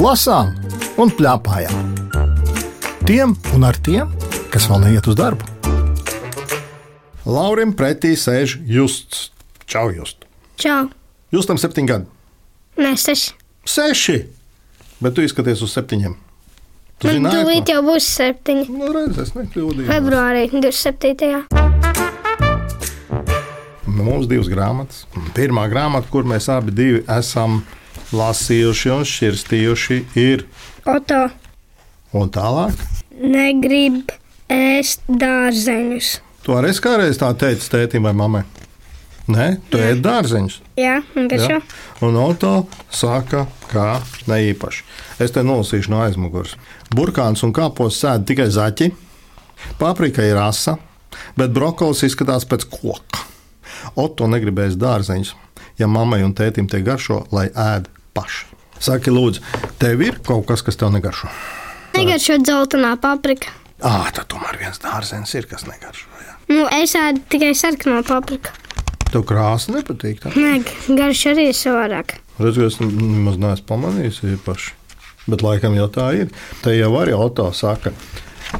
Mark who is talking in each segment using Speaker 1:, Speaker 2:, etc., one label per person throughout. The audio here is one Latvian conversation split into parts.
Speaker 1: lasām un plēpājām. Tiem un ar tiem, kas vēl neiet uz darbu. Laurim pretī sēž Justs. Čau, Just.
Speaker 2: Čau,
Speaker 1: Jūs tam septiņi gadi.
Speaker 2: nē, seši.
Speaker 1: Seši! Bet tu izskaties uz septiņiem. Tu
Speaker 2: Man
Speaker 1: zināji,
Speaker 2: tūlīt
Speaker 1: ko?
Speaker 2: jau būs septiņi.
Speaker 1: Nu, redz, es nekļūdījos.
Speaker 2: Februārī 27.
Speaker 1: Nu, Mums divas grāmatas. Pirmā grāmata, kur mēs abi divi esam lasījuši un šķirstījuši, ir
Speaker 2: Oto
Speaker 1: un tālāk.
Speaker 2: negrib ēst dārzeņus.
Speaker 1: Tu arī kādreiz tā teici tētim vai mammai? Nē, tu ēd dārzeņus.
Speaker 2: Jā, un kas
Speaker 1: Ja?
Speaker 2: jau?
Speaker 1: Un auto saka, ka ne īpaši. Es te nolasīšu no aizmugures. Burkāns un kāpos sēž tikai zaķi, paprika ir rasa, bet brokolis izskatās pēc koka. Oto negribēs dārzeņus, ja mammai un tētim tie garšo, lai ēd paši. Saki, lūdzu, tev ir kaut kas, kas tev negaršo?
Speaker 2: Negaršo dzeltenā paprika.
Speaker 1: Ah, tad tomēr viens dārzenis ir, kas negaršo. Jā.
Speaker 2: Nu, es ēdu tikai sarkano papriku.
Speaker 1: Tev krāsa nepatīk. tā?
Speaker 2: Nē, garš arī ir savādāk.
Speaker 1: Redz, ka es nemaz neesmu pamanījis īpaši. Bet laikam jau tā ir. Te jau arī auto saka.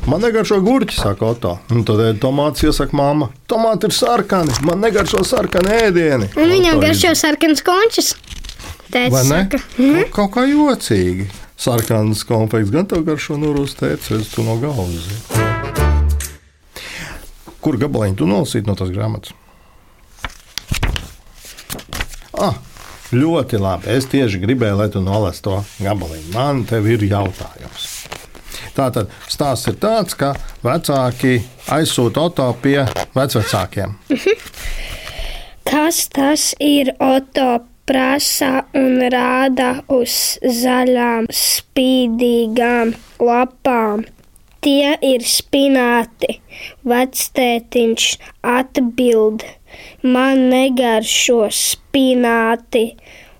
Speaker 1: Man negaršo gurķi, saka Oto. Un tad ēd tomātus iesaka mamma. Tomāti ir sarkani, man negaršo sarkani ēdieni.
Speaker 2: Un viņam
Speaker 1: Oto
Speaker 2: garšo sarkans končis.
Speaker 1: ir-
Speaker 2: Tēvs
Speaker 1: Vai ne?
Speaker 2: saka,
Speaker 1: Nu, Kaut kā jocīgi. Sarkanas konfekts gan tev garšo norūstēts, redz, tu no galvas. zini. Kur gabaliņu tu nolasīji no tās grāmatas? Ah, ļoti labi. Es tieši gribēju, lai tu nolasītu to gabaliņu. Man te ir jautājums. Tātad stāsts ir tāds, ka vecāki aizsūta auto pie vecākiem.
Speaker 2: kas tas ir Oto? Prasa un rāda uz zaļām, spīdīgām lapām. Tie ir spināti. Vectētiņš atbild: Man negaršo spināti.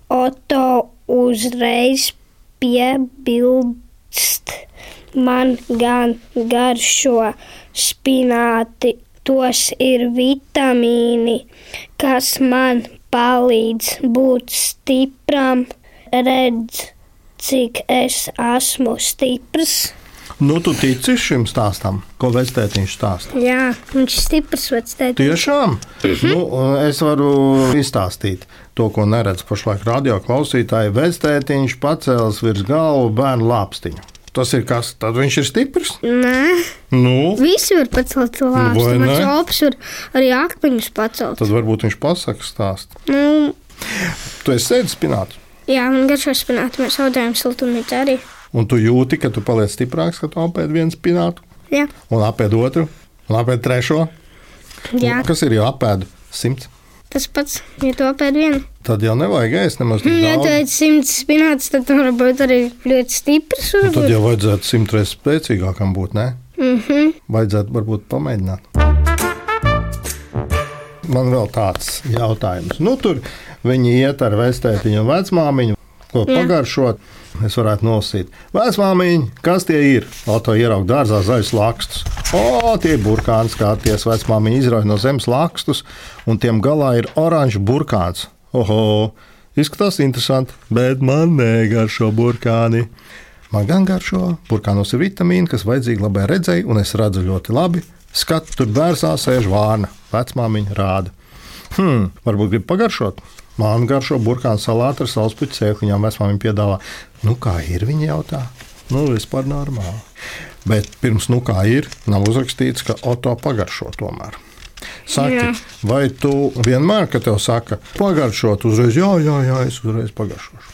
Speaker 2: Oto uzreiz piebildst. Man gan garšo spināti, tos ir vitamīni, kas man palīdz būt stipram. Redz, cik es esmu stiprs.
Speaker 1: Nu, tu tici šim stāstam, ko vecētiņš stāsta?
Speaker 2: Jā, viņš ir stiprs vectētiņš.
Speaker 1: Tiešām,
Speaker 2: Mhm.
Speaker 1: nu, es varu izstāstīt to, ko neredz pašlaik radio klausītāji. Vectētiņš pacēlis virs galvu bērnu lāpstiņu. Tas ir kas? Tad viņš ir stiprs.
Speaker 2: Nē,
Speaker 1: Nu,
Speaker 2: visi var pacelt lāpstu.
Speaker 1: Vai ne?
Speaker 2: Mans opas var arī akmeņus pacelt.
Speaker 1: tad varbūt viņš pasakās stāstu.
Speaker 2: Nu,
Speaker 1: Tu esi sēdis spināts.
Speaker 2: jā, man garšo spināti, mēs audējam siltumnīcu arī.
Speaker 1: Un tu jūti, ka tu paliec stiprāks, kad tu apēdi vienu spinātu,
Speaker 2: Jā,
Speaker 1: un apēdi otru, un apēdi trešo.
Speaker 2: jā.
Speaker 1: Kas ir jau apēdi? Simts.
Speaker 2: tas pats, ja to pēd vienu.
Speaker 1: Tad jau nevajag ēst nemaz tik
Speaker 2: Nu, Ja tu
Speaker 1: daudz.
Speaker 2: esi simts spināts, tad tu vari būt arī ļoti stiprs.
Speaker 1: Nu, Tad jau vajadzētu simt reizes spēcīgākam būt, ne?
Speaker 2: Mm -hmm.
Speaker 1: Vajadzētu varbūt pamēģināt. Man vēl tāds jautājums. Nu, tur viņi iet ar vestētiņu un vecmāmiņu, ko
Speaker 2: Jā.
Speaker 1: pagaršot. Es varētu nosīt. Vecmāmiņa, kas tie ir? Auto ierauga dārzā zaļus lakstus. O, tie ir burkāni, skaties, vecmāmiņa izrauj no zemes lakstus, un tiem galā ir oranžs burkāns. Oho, izskatās interesanti, bet man negaršo burkāni. Man gan garšo, burkānos ir vitamīni, kas vajadzīgi labai redzēji, un es redzu ļoti labi. Skatu tur dārzā sēž vārna. Vecmāmiņa rāda. Hmm, varbūt grib pagaršot. Man garšo burkāna salāti ar salspuķu sēkliņām. Vecmāmiņa piedāvā. Nu, kā ir viņa jautā? Nu, vispār normāli. Bet pirms nu kā ir, nav uzrakstīts, ka Oto pagaršo tomēr. Saki,
Speaker 2: Jā.
Speaker 1: vai tu vienmēr, kad tev saka, pagaršot, uzreiz, jā, jā, jā es uzreiz pagaršošu.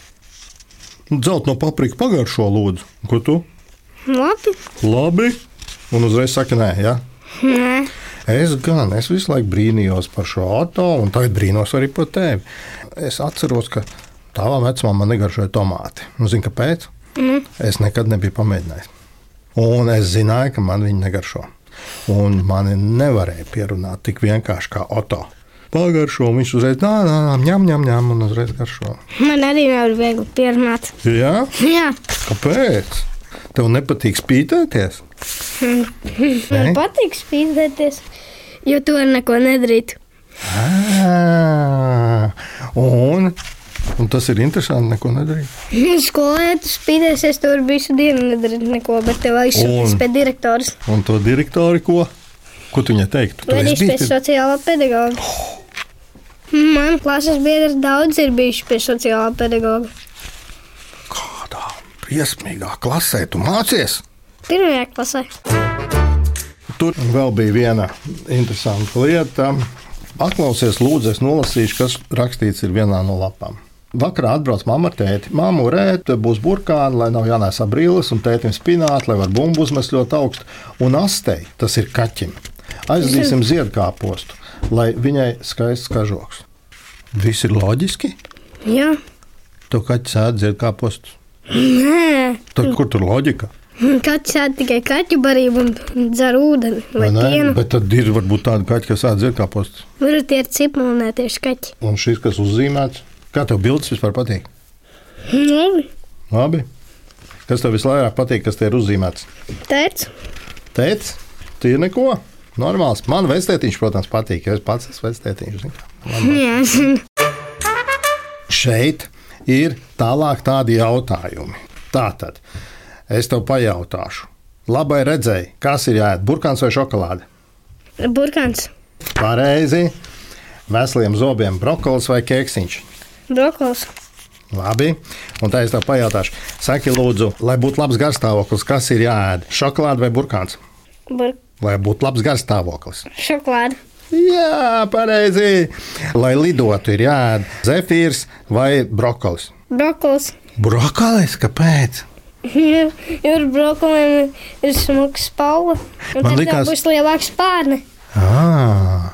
Speaker 1: Dzelt no paprika pagaršo, lūdzu. Ko tu?
Speaker 2: Labi.
Speaker 1: Labi. Un uzreiz saka, nē, jā. Ja?
Speaker 2: Nē.
Speaker 1: Es gan, es visu laiku brīnījos par šo automašīnu, un tagad brīnos arī par tevi. Es atceros, ka tavā vecumā man negaršoja tomāti. Nu, zini, kāpēc? Mm. Es nekad nebiju pamēģinājis. Un es zināju, ka man viņi negaršo. Un mani nevarēja pierunāt tik vienkārši kā Oto. Pagaršo, un viņš uzreiz tā, tā, tā, ņem, ņem, ņem, un uzreiz garšo.
Speaker 2: Man arī nav viegli pierunāt.
Speaker 1: Jā,
Speaker 2: Jā,
Speaker 1: kāpēc? Tev nepatīk spītēties? Nē?
Speaker 2: man patīk spīdēties, jo tu ar neko nedarītu.
Speaker 1: Ā, Ah, Un Un tas ir interesanti, neko nedarīt.
Speaker 2: Skolēnē tu spīdēsi, es tur visu dienu nedaru neko, bet tev aizsūtīs
Speaker 1: Un-
Speaker 2: pēc direktors.
Speaker 1: Un to direktori, ko, ko tu viņai teiktu? Tu esi
Speaker 2: Vadīšu pie
Speaker 1: bijis pie-
Speaker 2: sociālā pedagoga. Man klases biedri daudz ir bijuši pie sociālā pedagoga.
Speaker 1: kādā briesmīgā klasē, tu mācies.
Speaker 2: Pirmajā klasē.
Speaker 1: Tur vēl bija viena interesanta lieta. Atklausies, lūdzu, es nolasīšu, kas rakstīts ir vienā no lapām. Vakarā atbrauc mamma ar tēti. Māmu rēta būs burkāni, lai nav jānēsā brīlis, un tētim spināti, lai var bumbu uzmest ļoti augstu. Un astei, tas ir kaķim, aizdzīsim ziedkāpostu, lai viņai skaists kažoks. Viss ir loģiski.
Speaker 2: Jā,
Speaker 1: Tu kaķis ēd ziedkāpostus.
Speaker 2: nē.
Speaker 1: Tur, kur tur loģika?
Speaker 2: Kaķis ēd tikai kaķu barību un dzer ūdeni vai
Speaker 1: Vai ne?
Speaker 2: pienu.
Speaker 1: Bet tad ir varbūt tādi kaķi, kas ēd ziedkāpostus.
Speaker 2: Tur tie ir cipelnē tieši kaķi.
Speaker 1: Un šis, kas uzzīmēts, kā tev bildes vispār patīk?
Speaker 2: Labi,
Speaker 1: Labi. Kas tev vislabāk patīk, kas te ir uzzīmēts?
Speaker 2: teicu.
Speaker 1: Teicis, tie ir neko. Normāls. Man vestētiņš, protams, patīk, jo es pats esmu vestētiņš. zini kā.
Speaker 2: Jā, zinu.
Speaker 1: Šeit ir tālāk tādi jautājumi. Tātad, es tev pajautāšu. Labai redzēji, kas ir jāiet, burkāns vai šokolāde?
Speaker 2: Burkāns,
Speaker 1: Pareizi. Veseliem zobiem brokolis vai kēksiņš?
Speaker 2: brokols,
Speaker 1: Labi, un tā es tev pajautāšu. Saki, lūdzu, lai būtu labs garstāvoklis, kas ir jāēd? Šokolāde vai burkāns?
Speaker 2: bur
Speaker 1: Lai būtu labs garstāvoklis.
Speaker 2: šokolāde,
Speaker 1: Jā, pareizi. Lai lidotu, ir jāēd zefīrs vai brokolis.
Speaker 2: brokols.
Speaker 1: Brokolis, kāpēc?
Speaker 2: Jā, jo ar brokoliem ir smags paula. Un
Speaker 1: Man
Speaker 2: tad
Speaker 1: likās-
Speaker 2: likās... būs lielāks pārne.
Speaker 1: À,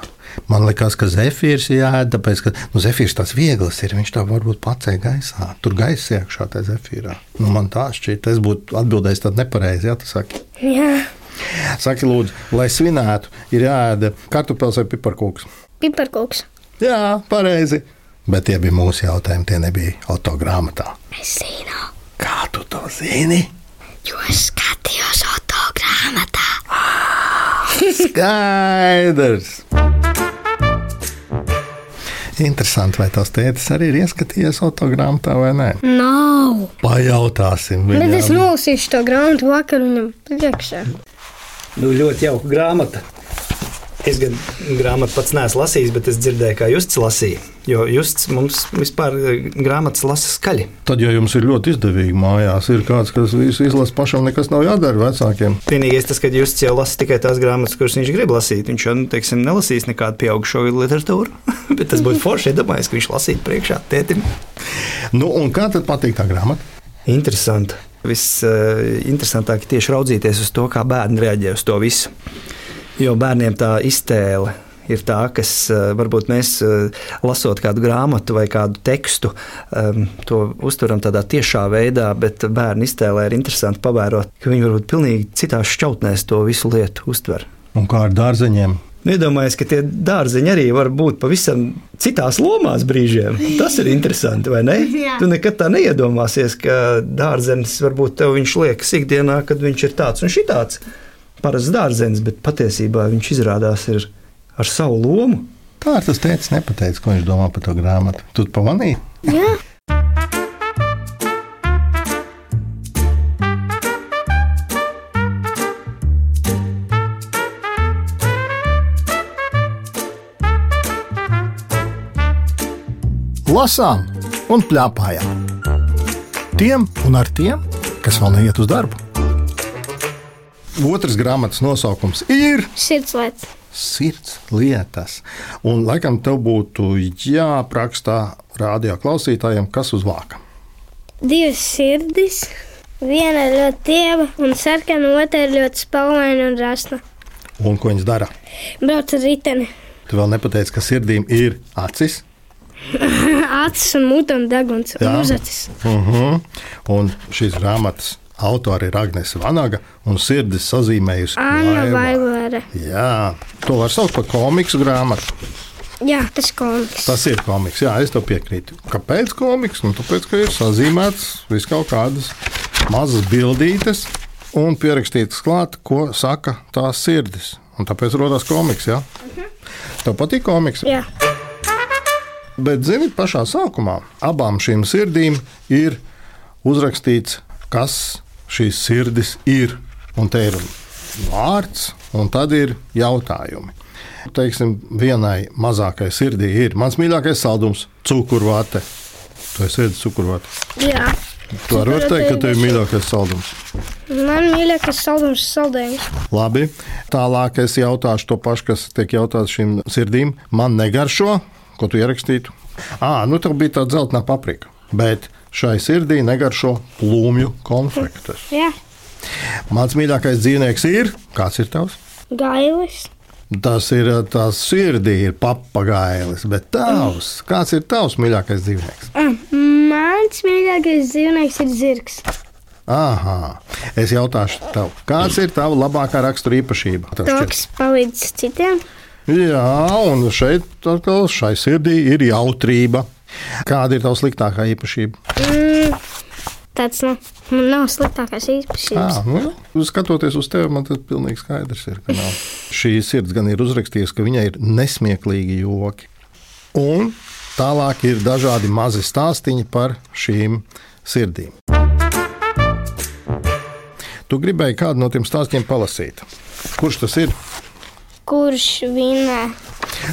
Speaker 1: man liekas, ka zefīrs ir jāēd, tāpēc, ka nu, zefīrs tas viegls ir. Viņš tā varbūt pacēla gaisā. Tur gaisa iekšā tajā zefīrā. Nu, man tā šķiet, tas būtu atbildējis tad nepareizi, ja tu saki.
Speaker 2: Jā,
Speaker 1: Saki, lūdzu, lai svinētu, ir jāēd kartupeļs vai piparkūks.
Speaker 2: piparkoks.
Speaker 1: Jā, pareizi. Bet tie bija mūsu jautājumi, tie nebija autogrāmatā.
Speaker 2: Es zinu,
Speaker 1: Kā tu to zini?
Speaker 2: jo es skatījos autogrāmatā.
Speaker 1: Skaidrs! Interesanti, vai tās tētis arī ir ieskatījies autogrāmatā vai nē.
Speaker 2: Nav.
Speaker 1: Pajautāsim
Speaker 2: Bet es nu-
Speaker 1: viņam.
Speaker 2: nolasīšu to grāmatu vakar viņam priekšā.
Speaker 3: Nu, ļoti jauka grāmata. Es gan grāmatu pats neesmu lasījis, bet es dzirdēju, kā Justs lasīja. Jo Justs mums vispār eh, grāmatas lasa skaļi.
Speaker 1: Tad, ja jums ir ļoti izdevīgi mājās, ir kāds, kas visu izlasa pašam, nekas nav jādara vecākiem.
Speaker 3: Vienīgais tas, ka Justs jau lasa tikai tās grāmatas, kuras viņš grib lasīt. Viņš jau, nu, teiksim, nelasīs nekādu pieaugušo literatūru. bet tas būtu forši, ja domājis, ka viņš lasītu priekšā tētim.
Speaker 1: Nu, un kā tad patīk tā grāmata?
Speaker 3: Interesanti. Visinteresantāk ir eh, tieši raudzīties uz to, kā bērni reaģē uz to visu. Jo bērniem tā iztēle ir tā, kas eh, varbūt mēs eh, lasot kādu grāmatu vai kādu tekstu, em, to uztveram tādā tiešā veidā, bet bērnu iztēlē ir interesanti pavērot, ka viņi varbūt pilnīgi citās šķautnēs to visu lietu uztver.
Speaker 1: Un kā ar dārzeņiem?
Speaker 3: Iedomājieties, ka tie dārziņi arī var būt pavisam citās lomās brīžiem. Tas ir interesanti, vai ne?
Speaker 2: Jā.
Speaker 3: Tu nekad tā neiedomāsies, ka dārzenis varbūt tev viņš liekas ikdienā, kad viņš ir tāds un šitāds. Parasts dārzenis, bet patiesībā viņš izrādās ir ar savu lomu.
Speaker 1: Tā ir tas teicis, nepateicis, ko viņš domā par to grāmatu. Tu pamanīji?
Speaker 2: Jā,
Speaker 1: lasām un plēpājām. Tiem un ar tiem, kas vēl neiet uz darbu. Otrs grāmatas nosaukums ir
Speaker 2: sirds lieta.
Speaker 1: Sirds lietas. Un, laikam, tev būtu jāaprakstā radio klausītājiem, kas uz vāka.
Speaker 2: Divas sirdis. Viena ir ļoti tieva un sarkana, otra ir ļoti spalvaina un rasna.
Speaker 1: Un ko viņas dara?
Speaker 2: Brauc ar riteni,
Speaker 1: Tu vēl nepateici, ka sirdīm ir acis.
Speaker 2: acis un mute un deguns un
Speaker 1: Jā.
Speaker 2: uzacis.
Speaker 1: Uh -huh. Un šīs grāmatas autori ir Agnēs Vanaga un sirdis sazīmējusi
Speaker 2: Anna
Speaker 1: laivā.
Speaker 2: Vailere.
Speaker 1: Jā, to var saukt par komiksu grāmatu.
Speaker 2: Jā, tas komiks.
Speaker 1: Tas ir komiks, jā, es tev piekrītu. Kāpēc komiks? Nu, tāpēc, ka ir sazīmēts vis kaut kādas mazas bildītes un pierakstītas klāt, ko saka tās sirdis. Un tāpēc radās komiks, jā. Tev patīk komiks?
Speaker 2: Jā,
Speaker 1: Bet, ziniet, pašā sākumā abām šīm sirdīm ir uzrakstīts, kas šīs sirdis ir. Un te ir vārds, un tad ir jautājumi. Teiksim, vienai mazākai sirdī ir mans mīļākais saldums, cukurvāte. Tu esi ēdis cukurvāte.
Speaker 2: Jā.
Speaker 1: Tu arī vari teikt, ka tev ir mīļākais saldums.
Speaker 2: Man mīļākais saldums ir saldējums.
Speaker 1: Labi, tālāk es jautāšu to pašu, kas tiek jautāts šīm sirdīm. Man negaršo, ko tu ierakstītu. À, nu tev bija tāda zeltainā paprika, bet šai sirdī negaršo plūmju konfliktus.
Speaker 2: Jā.
Speaker 1: Mans mīļākais dzīvnieks ir, kāds ir tavs?
Speaker 2: Gailis.
Speaker 1: Tas ir tās sirdī, ir papagailis, bet tavs, kāds ir tavs mīļākais dzīvnieks?
Speaker 2: Ah, Mans mīļākais dzīvnieks ir zirgs.
Speaker 1: Aha, es jautāšu tev, kāds ir tava labākā rakstura īpašība? Tev
Speaker 2: To,
Speaker 1: šķiet?
Speaker 2: kas palīdz citiem.
Speaker 1: Jā, un šeit atkal šai sirdī ir jautrība. Kāda ir tava sliktākā īpašība?
Speaker 2: Mm, tāds nav. Man nav sliktākais
Speaker 1: À,
Speaker 2: īpašības.
Speaker 1: nu, skatoties uz tevi, man tas pilnīgi skaidrs ir. ka nav. Šī sirds gan ir uzrakstījusi, ka viņai ir nesmieklīgi joki. Un tālāk ir dažādi mazi stāstīņi par šīm sirdīm. Tu gribēji kādu no tiem stāstiem palasīt. Kurš tas ir?
Speaker 2: Kurš vinē?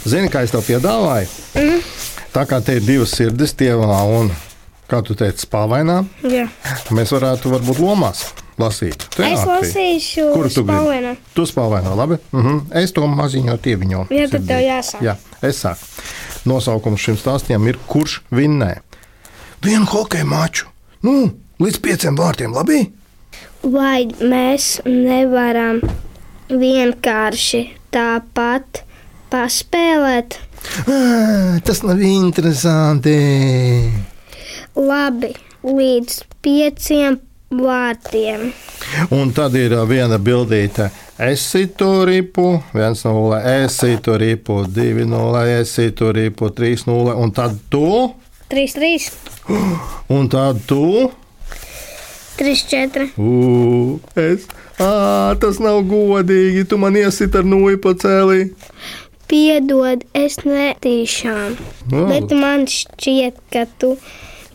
Speaker 1: Zini, kā es tev piedāvāju?
Speaker 2: Mhm.
Speaker 1: Tā kā te ir divas sirdis, tievā un, kā tu teici, spāvainā,
Speaker 2: Jā.
Speaker 1: mēs varētu varbūt lomās lasīt.
Speaker 2: Es
Speaker 1: Teātrī.
Speaker 2: lasīšu
Speaker 1: Kuru tu
Speaker 2: spalvenu.
Speaker 1: gribi? Tu spāvainā, labi? Uh -huh. Es to maziņo tieviņo.
Speaker 2: Jā, tad tev jāsāk.
Speaker 1: Jā, es sāku. Nosaukums šim stāstiem ir Kurš vinnē? Vienu hokeja maču. Nu, līdz pieciem vārtiem, labi?
Speaker 2: Vai mēs nevaram vienkārši tāpat paspēlēt?
Speaker 1: Ā, Tas nav interesanti.
Speaker 2: Labi, līdz pieciem vārtiem.
Speaker 1: Un tad ir ā, viena bildīte. Es situ ripu, 1, 0, es situ ripu, 2, 0, es situ ripu, 3, 0, un tad tu,
Speaker 2: 3, 3,
Speaker 1: un tad tu,
Speaker 2: 3, 4.
Speaker 1: u, es, ā, tas nav godīgi, tu man iesit ar nūju pa cēlī.
Speaker 2: Piedod, es netīšām.
Speaker 1: Nu,
Speaker 2: Bet man šķiet, ka tu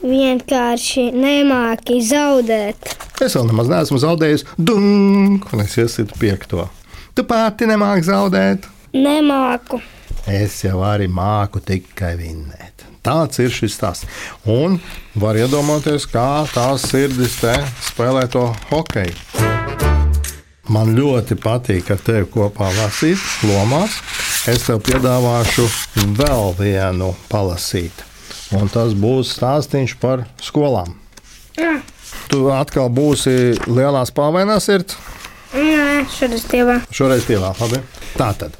Speaker 2: vienkārši nemāki zaudēt.
Speaker 1: Es vēl nemaz neesmu zaudējis, dung, un es iesitu piekto. Tu pati nemāki zaudēt.
Speaker 2: Nemāku.
Speaker 1: Es jau arī māku tikai vinnēt. Tāds ir šis stāsts. Un var iedomāties, kā tās sirdis te spēlē to hokeju. Man ļoti patīk ar tevi kopā lasīt, lomās. Es tev piedāvāšu vēl vienu palasīt. Un tas būs stāstīns par skolām.
Speaker 2: Ah,
Speaker 1: Tu atkal būsi lielā spāvainā sirds.
Speaker 2: Nē, šodien stāvā.
Speaker 1: Šoreiz tievā, labi. Tā tad.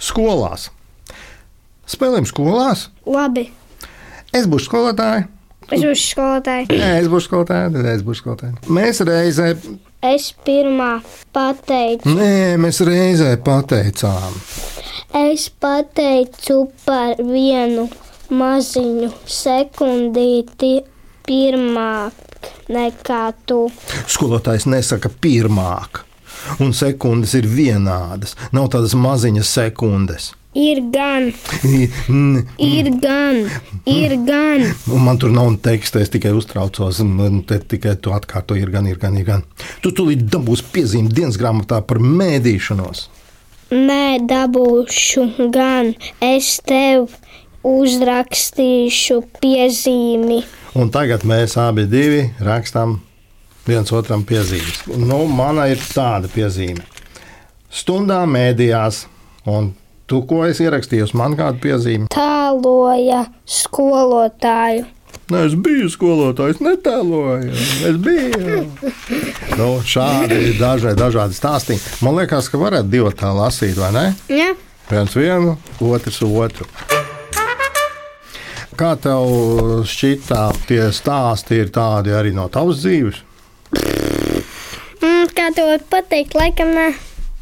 Speaker 1: Skolās. Spēlēm skolās.
Speaker 2: Labi,
Speaker 1: Es būšu skolotāja.
Speaker 2: es būšu skolotāja.
Speaker 1: Nē, es būšu skolotāja, tad es būšu skolotāja. Mēs reizē,
Speaker 2: Es pirmā pateicu,
Speaker 1: nē, mēs reizē pateicām.
Speaker 2: es pateicu par vienu maziņu sekundīti pirmāk nekā tu.
Speaker 1: Skolotājs nesaka pirmāk, un sekundes ir vienādas. Nav tādas maziņas sekundes.
Speaker 2: Ir gan,
Speaker 1: I- n-
Speaker 2: ir gan, ir gan.
Speaker 1: Un man tur nav teksta, es tikai uztraucos. Man te tikai tu atkārto, ir gan, ir gan, ir gan. Tu tulīt dabūsi piezīmi dienas grāmatā par mēdīšanos.
Speaker 2: Nē, dabūšu gan. Es tev uzrakstīšu piezīmi.
Speaker 1: Un tagad mēs abi divi rakstām viens otram piezīmes. Nu, mana ir tāda piezīme. Stundā mēdījās, un tu ko es ierakstīju, uz man kādu piezīmi?
Speaker 2: Tāloja skolotāju.
Speaker 1: Nē, Nu, es biju skolotājs, netēloju. Es biju. nu, šādi ir dažādi, dažādi stāstī. Man liekas, ka varētu divi tā lasīt, vai ne?
Speaker 2: Ja?
Speaker 1: Viens vienu, otrs otru. Kā tev šķita, tie stāsti ir tādi arī no tavas dzīves?
Speaker 2: Mm, Kā tev pateikt, laikam, nē.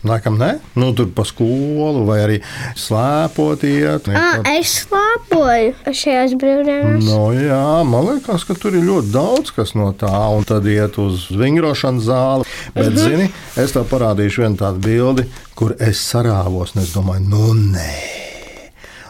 Speaker 1: Laikam, nē, nu, tur pa skolu vai arī slēpot iet.
Speaker 2: À, Ah, es slēpoju šajās brīvdienās.
Speaker 1: Nu, jā, man liekas, ka tur ir ļoti daudz kas no tā, un tad iet uz vingrošanas zāli. Bet, uh -huh. zini, es tev parādīšu vienu tādu bildi, kur es sarāvos, un es domāju, nu, nē,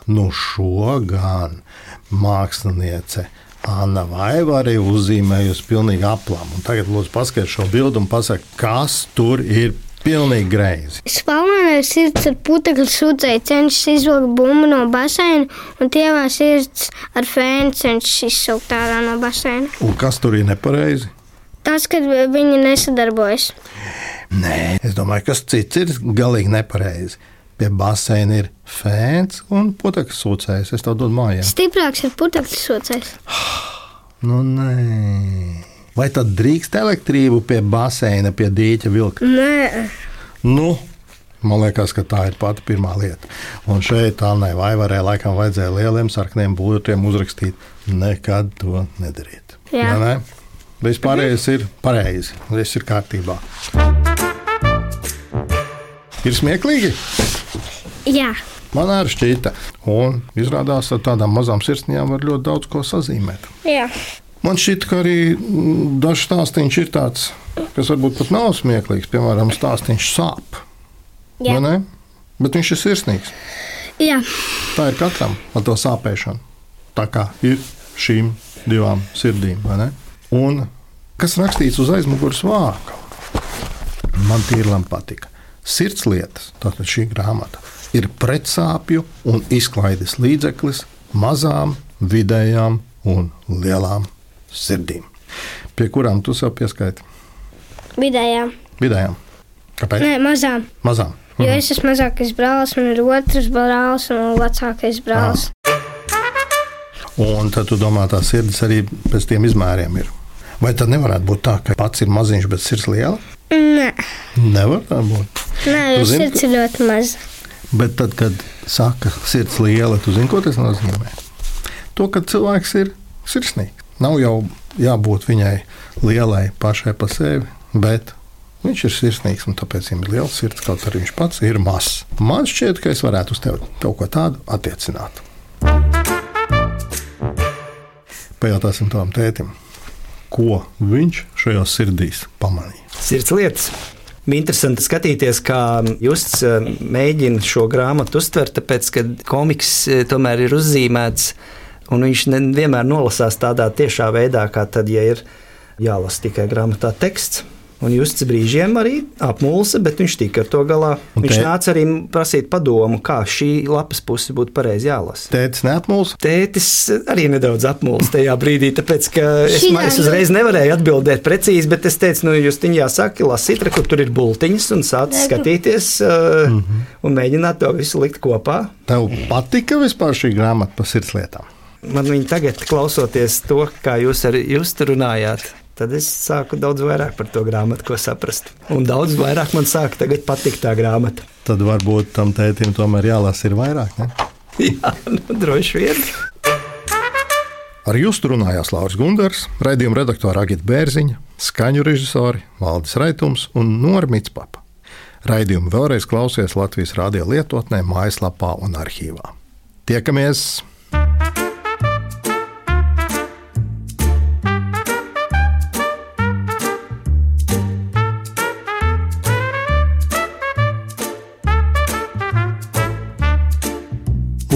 Speaker 1: nu, šo gan. māksliniece. Anna Vaivara ir uzzīmējusi pilnīgi aplamu. Un tagad lūdzu paskatieties šo bildi un pasakiet, kas tur ir pilnīgi greizi.
Speaker 2: Spalvainais sirds ar putekļu sūdzēju cenšas izvilkt bumbu no baseina, un tievā sirds ar fēnu cenšas izsaukt ārā no baseina.
Speaker 1: Un kas tur ir nepareizi?
Speaker 2: Tas, kad viņi nesadarbojas.
Speaker 1: Nē, es domāju, kas cits ir galīgi nepareizi. Pie baseina ir fēns un putekļu sūcējs. Es to dodu mājās.
Speaker 2: Stiprāks ir putekļu sūcējs.
Speaker 1: Nu, nē. Vai tad drīkst elektrību pie baseina, pie dīķa vilkt?
Speaker 2: Nē,
Speaker 1: Nu, man liekas, ka tā ir pati pirmā lieta. Un šeit Annai Vaivarē laikam vajadzēja lieliem sarkaniem būtiem uzrakstīt, nekad to nedariet. Ne,
Speaker 2: Jā.
Speaker 1: ne? Vispārējais ir pareizi, viss ir kārtībā. Ir smieklīgi,
Speaker 2: jā.
Speaker 1: man arī šķita. Un izrādās, ar tādām mazām sirsniņām var ļoti daudz ko sazīmēt.
Speaker 2: jā.
Speaker 1: Man šķiet, ka arī mm, dažs stāstījums ir tāds, kas varbūt pat nav smieklīgs. Piemēram, stāstījums sāp.
Speaker 2: Jā.
Speaker 1: vai ne? Bet viņš ir sirsnīgs.
Speaker 2: jā.
Speaker 1: Tā ir katram ar to sāpēšanu. Tā kā ir šīm divām sirdīm. vai ne? Un kas rakstīts uz aizmugures vāka? Man tīrlam patika. Sirds lietas, tātad šī grāmata, ir pretsāpju un izklaides līdzeklis mazām, vidējām un lielām sirdīm. Pie kurām tu sev pieskaiti?
Speaker 2: Vidējām,
Speaker 1: Vidējām. Kāpēc?
Speaker 2: nē, mazām.
Speaker 1: Mazām. Mhm.
Speaker 2: Jo es esmu mazākais brālis, man ir otrs brālis un vecākais brālis.
Speaker 1: Un tad tu domā, tā sirds arī pēc tiem izmēriem ir. Vai tad nevarētu būt tā, ka pats ir maziņš, bet sirds liela?
Speaker 2: Nē,
Speaker 1: Nevar tā būt.
Speaker 2: nē
Speaker 1: Ah. Tu
Speaker 2: jo
Speaker 1: zini,
Speaker 2: sirds ir ļoti maza.
Speaker 1: Bet tad, kad saka, sirds liela, tu zini, ko tas nozīmē? To, ka cilvēks ir sirsnīgs. Nav jau jābūt viņai lielai pašai pa sevi, bet viņš ir sirsnīgs un tāpēc viņam ir liels sirds, kaut arī viņš pats ir mazs. Man šķiet, ka es varētu uz tevi kaut ko tādu attiecināt. Pajautāsim tam tētim, ko viņš šajos sirdīs pamanīja.
Speaker 3: sirds lietas. Bija interesanti skatīties, kā Justs eh, mēģina šo grāmatu uztvert, tāpēc, ka komiks eh, tomēr ir uzzīmēts, un viņš nevienmēr nolasās tādā tiešā veidā, kā tad, ja ir jālasa tikai grāmatā teksts. Un Justs brīžiem arī apmulsa, bet viņš tika ar to galā.
Speaker 1: Un
Speaker 3: Viņš
Speaker 1: te-
Speaker 3: nāca arī prasīt padomu, kā šī lapas puse būtu pareizi jālasa.
Speaker 1: Tētis neapmuls,
Speaker 3: Tētis arī nedaudz apmuļs tajā brīdī, tāpēc ka es,
Speaker 2: Šī
Speaker 3: man, es
Speaker 2: nav-
Speaker 3: uzreiz nevarēju atbildēt precīzi, bet es teicu, nu, jūs tiņā saka, lasīt, kur tur ir bultiņas, un sācis skatīties uh, mm -hmm. un mēģināt to visu likt kopā.
Speaker 1: tev patika vispār šī grāmata par sirdslietām?
Speaker 3: Man viņa tagad, klausoties to, kā jūs ar jūs tur runājāt. Tad es sāku daudz vairāk par to grāmatu, ko saprast. Un daudz vairāk man sāka tagad patikt tā grāmata.
Speaker 1: tad varbūt tam tētim tomēr jālasa ir vairāk. Ne?
Speaker 3: Jā, nu, droši vien.
Speaker 1: Ar jums runājās Lauris Gundars, raidījuma redaktora Agita Bērziņa, skaņu režisori Valdis Raitums un Normīts Papa. Raidījumu vēlreiz klausies Latvijas radio lietotnē, mājaslapā un arhīvā. Tiekamies!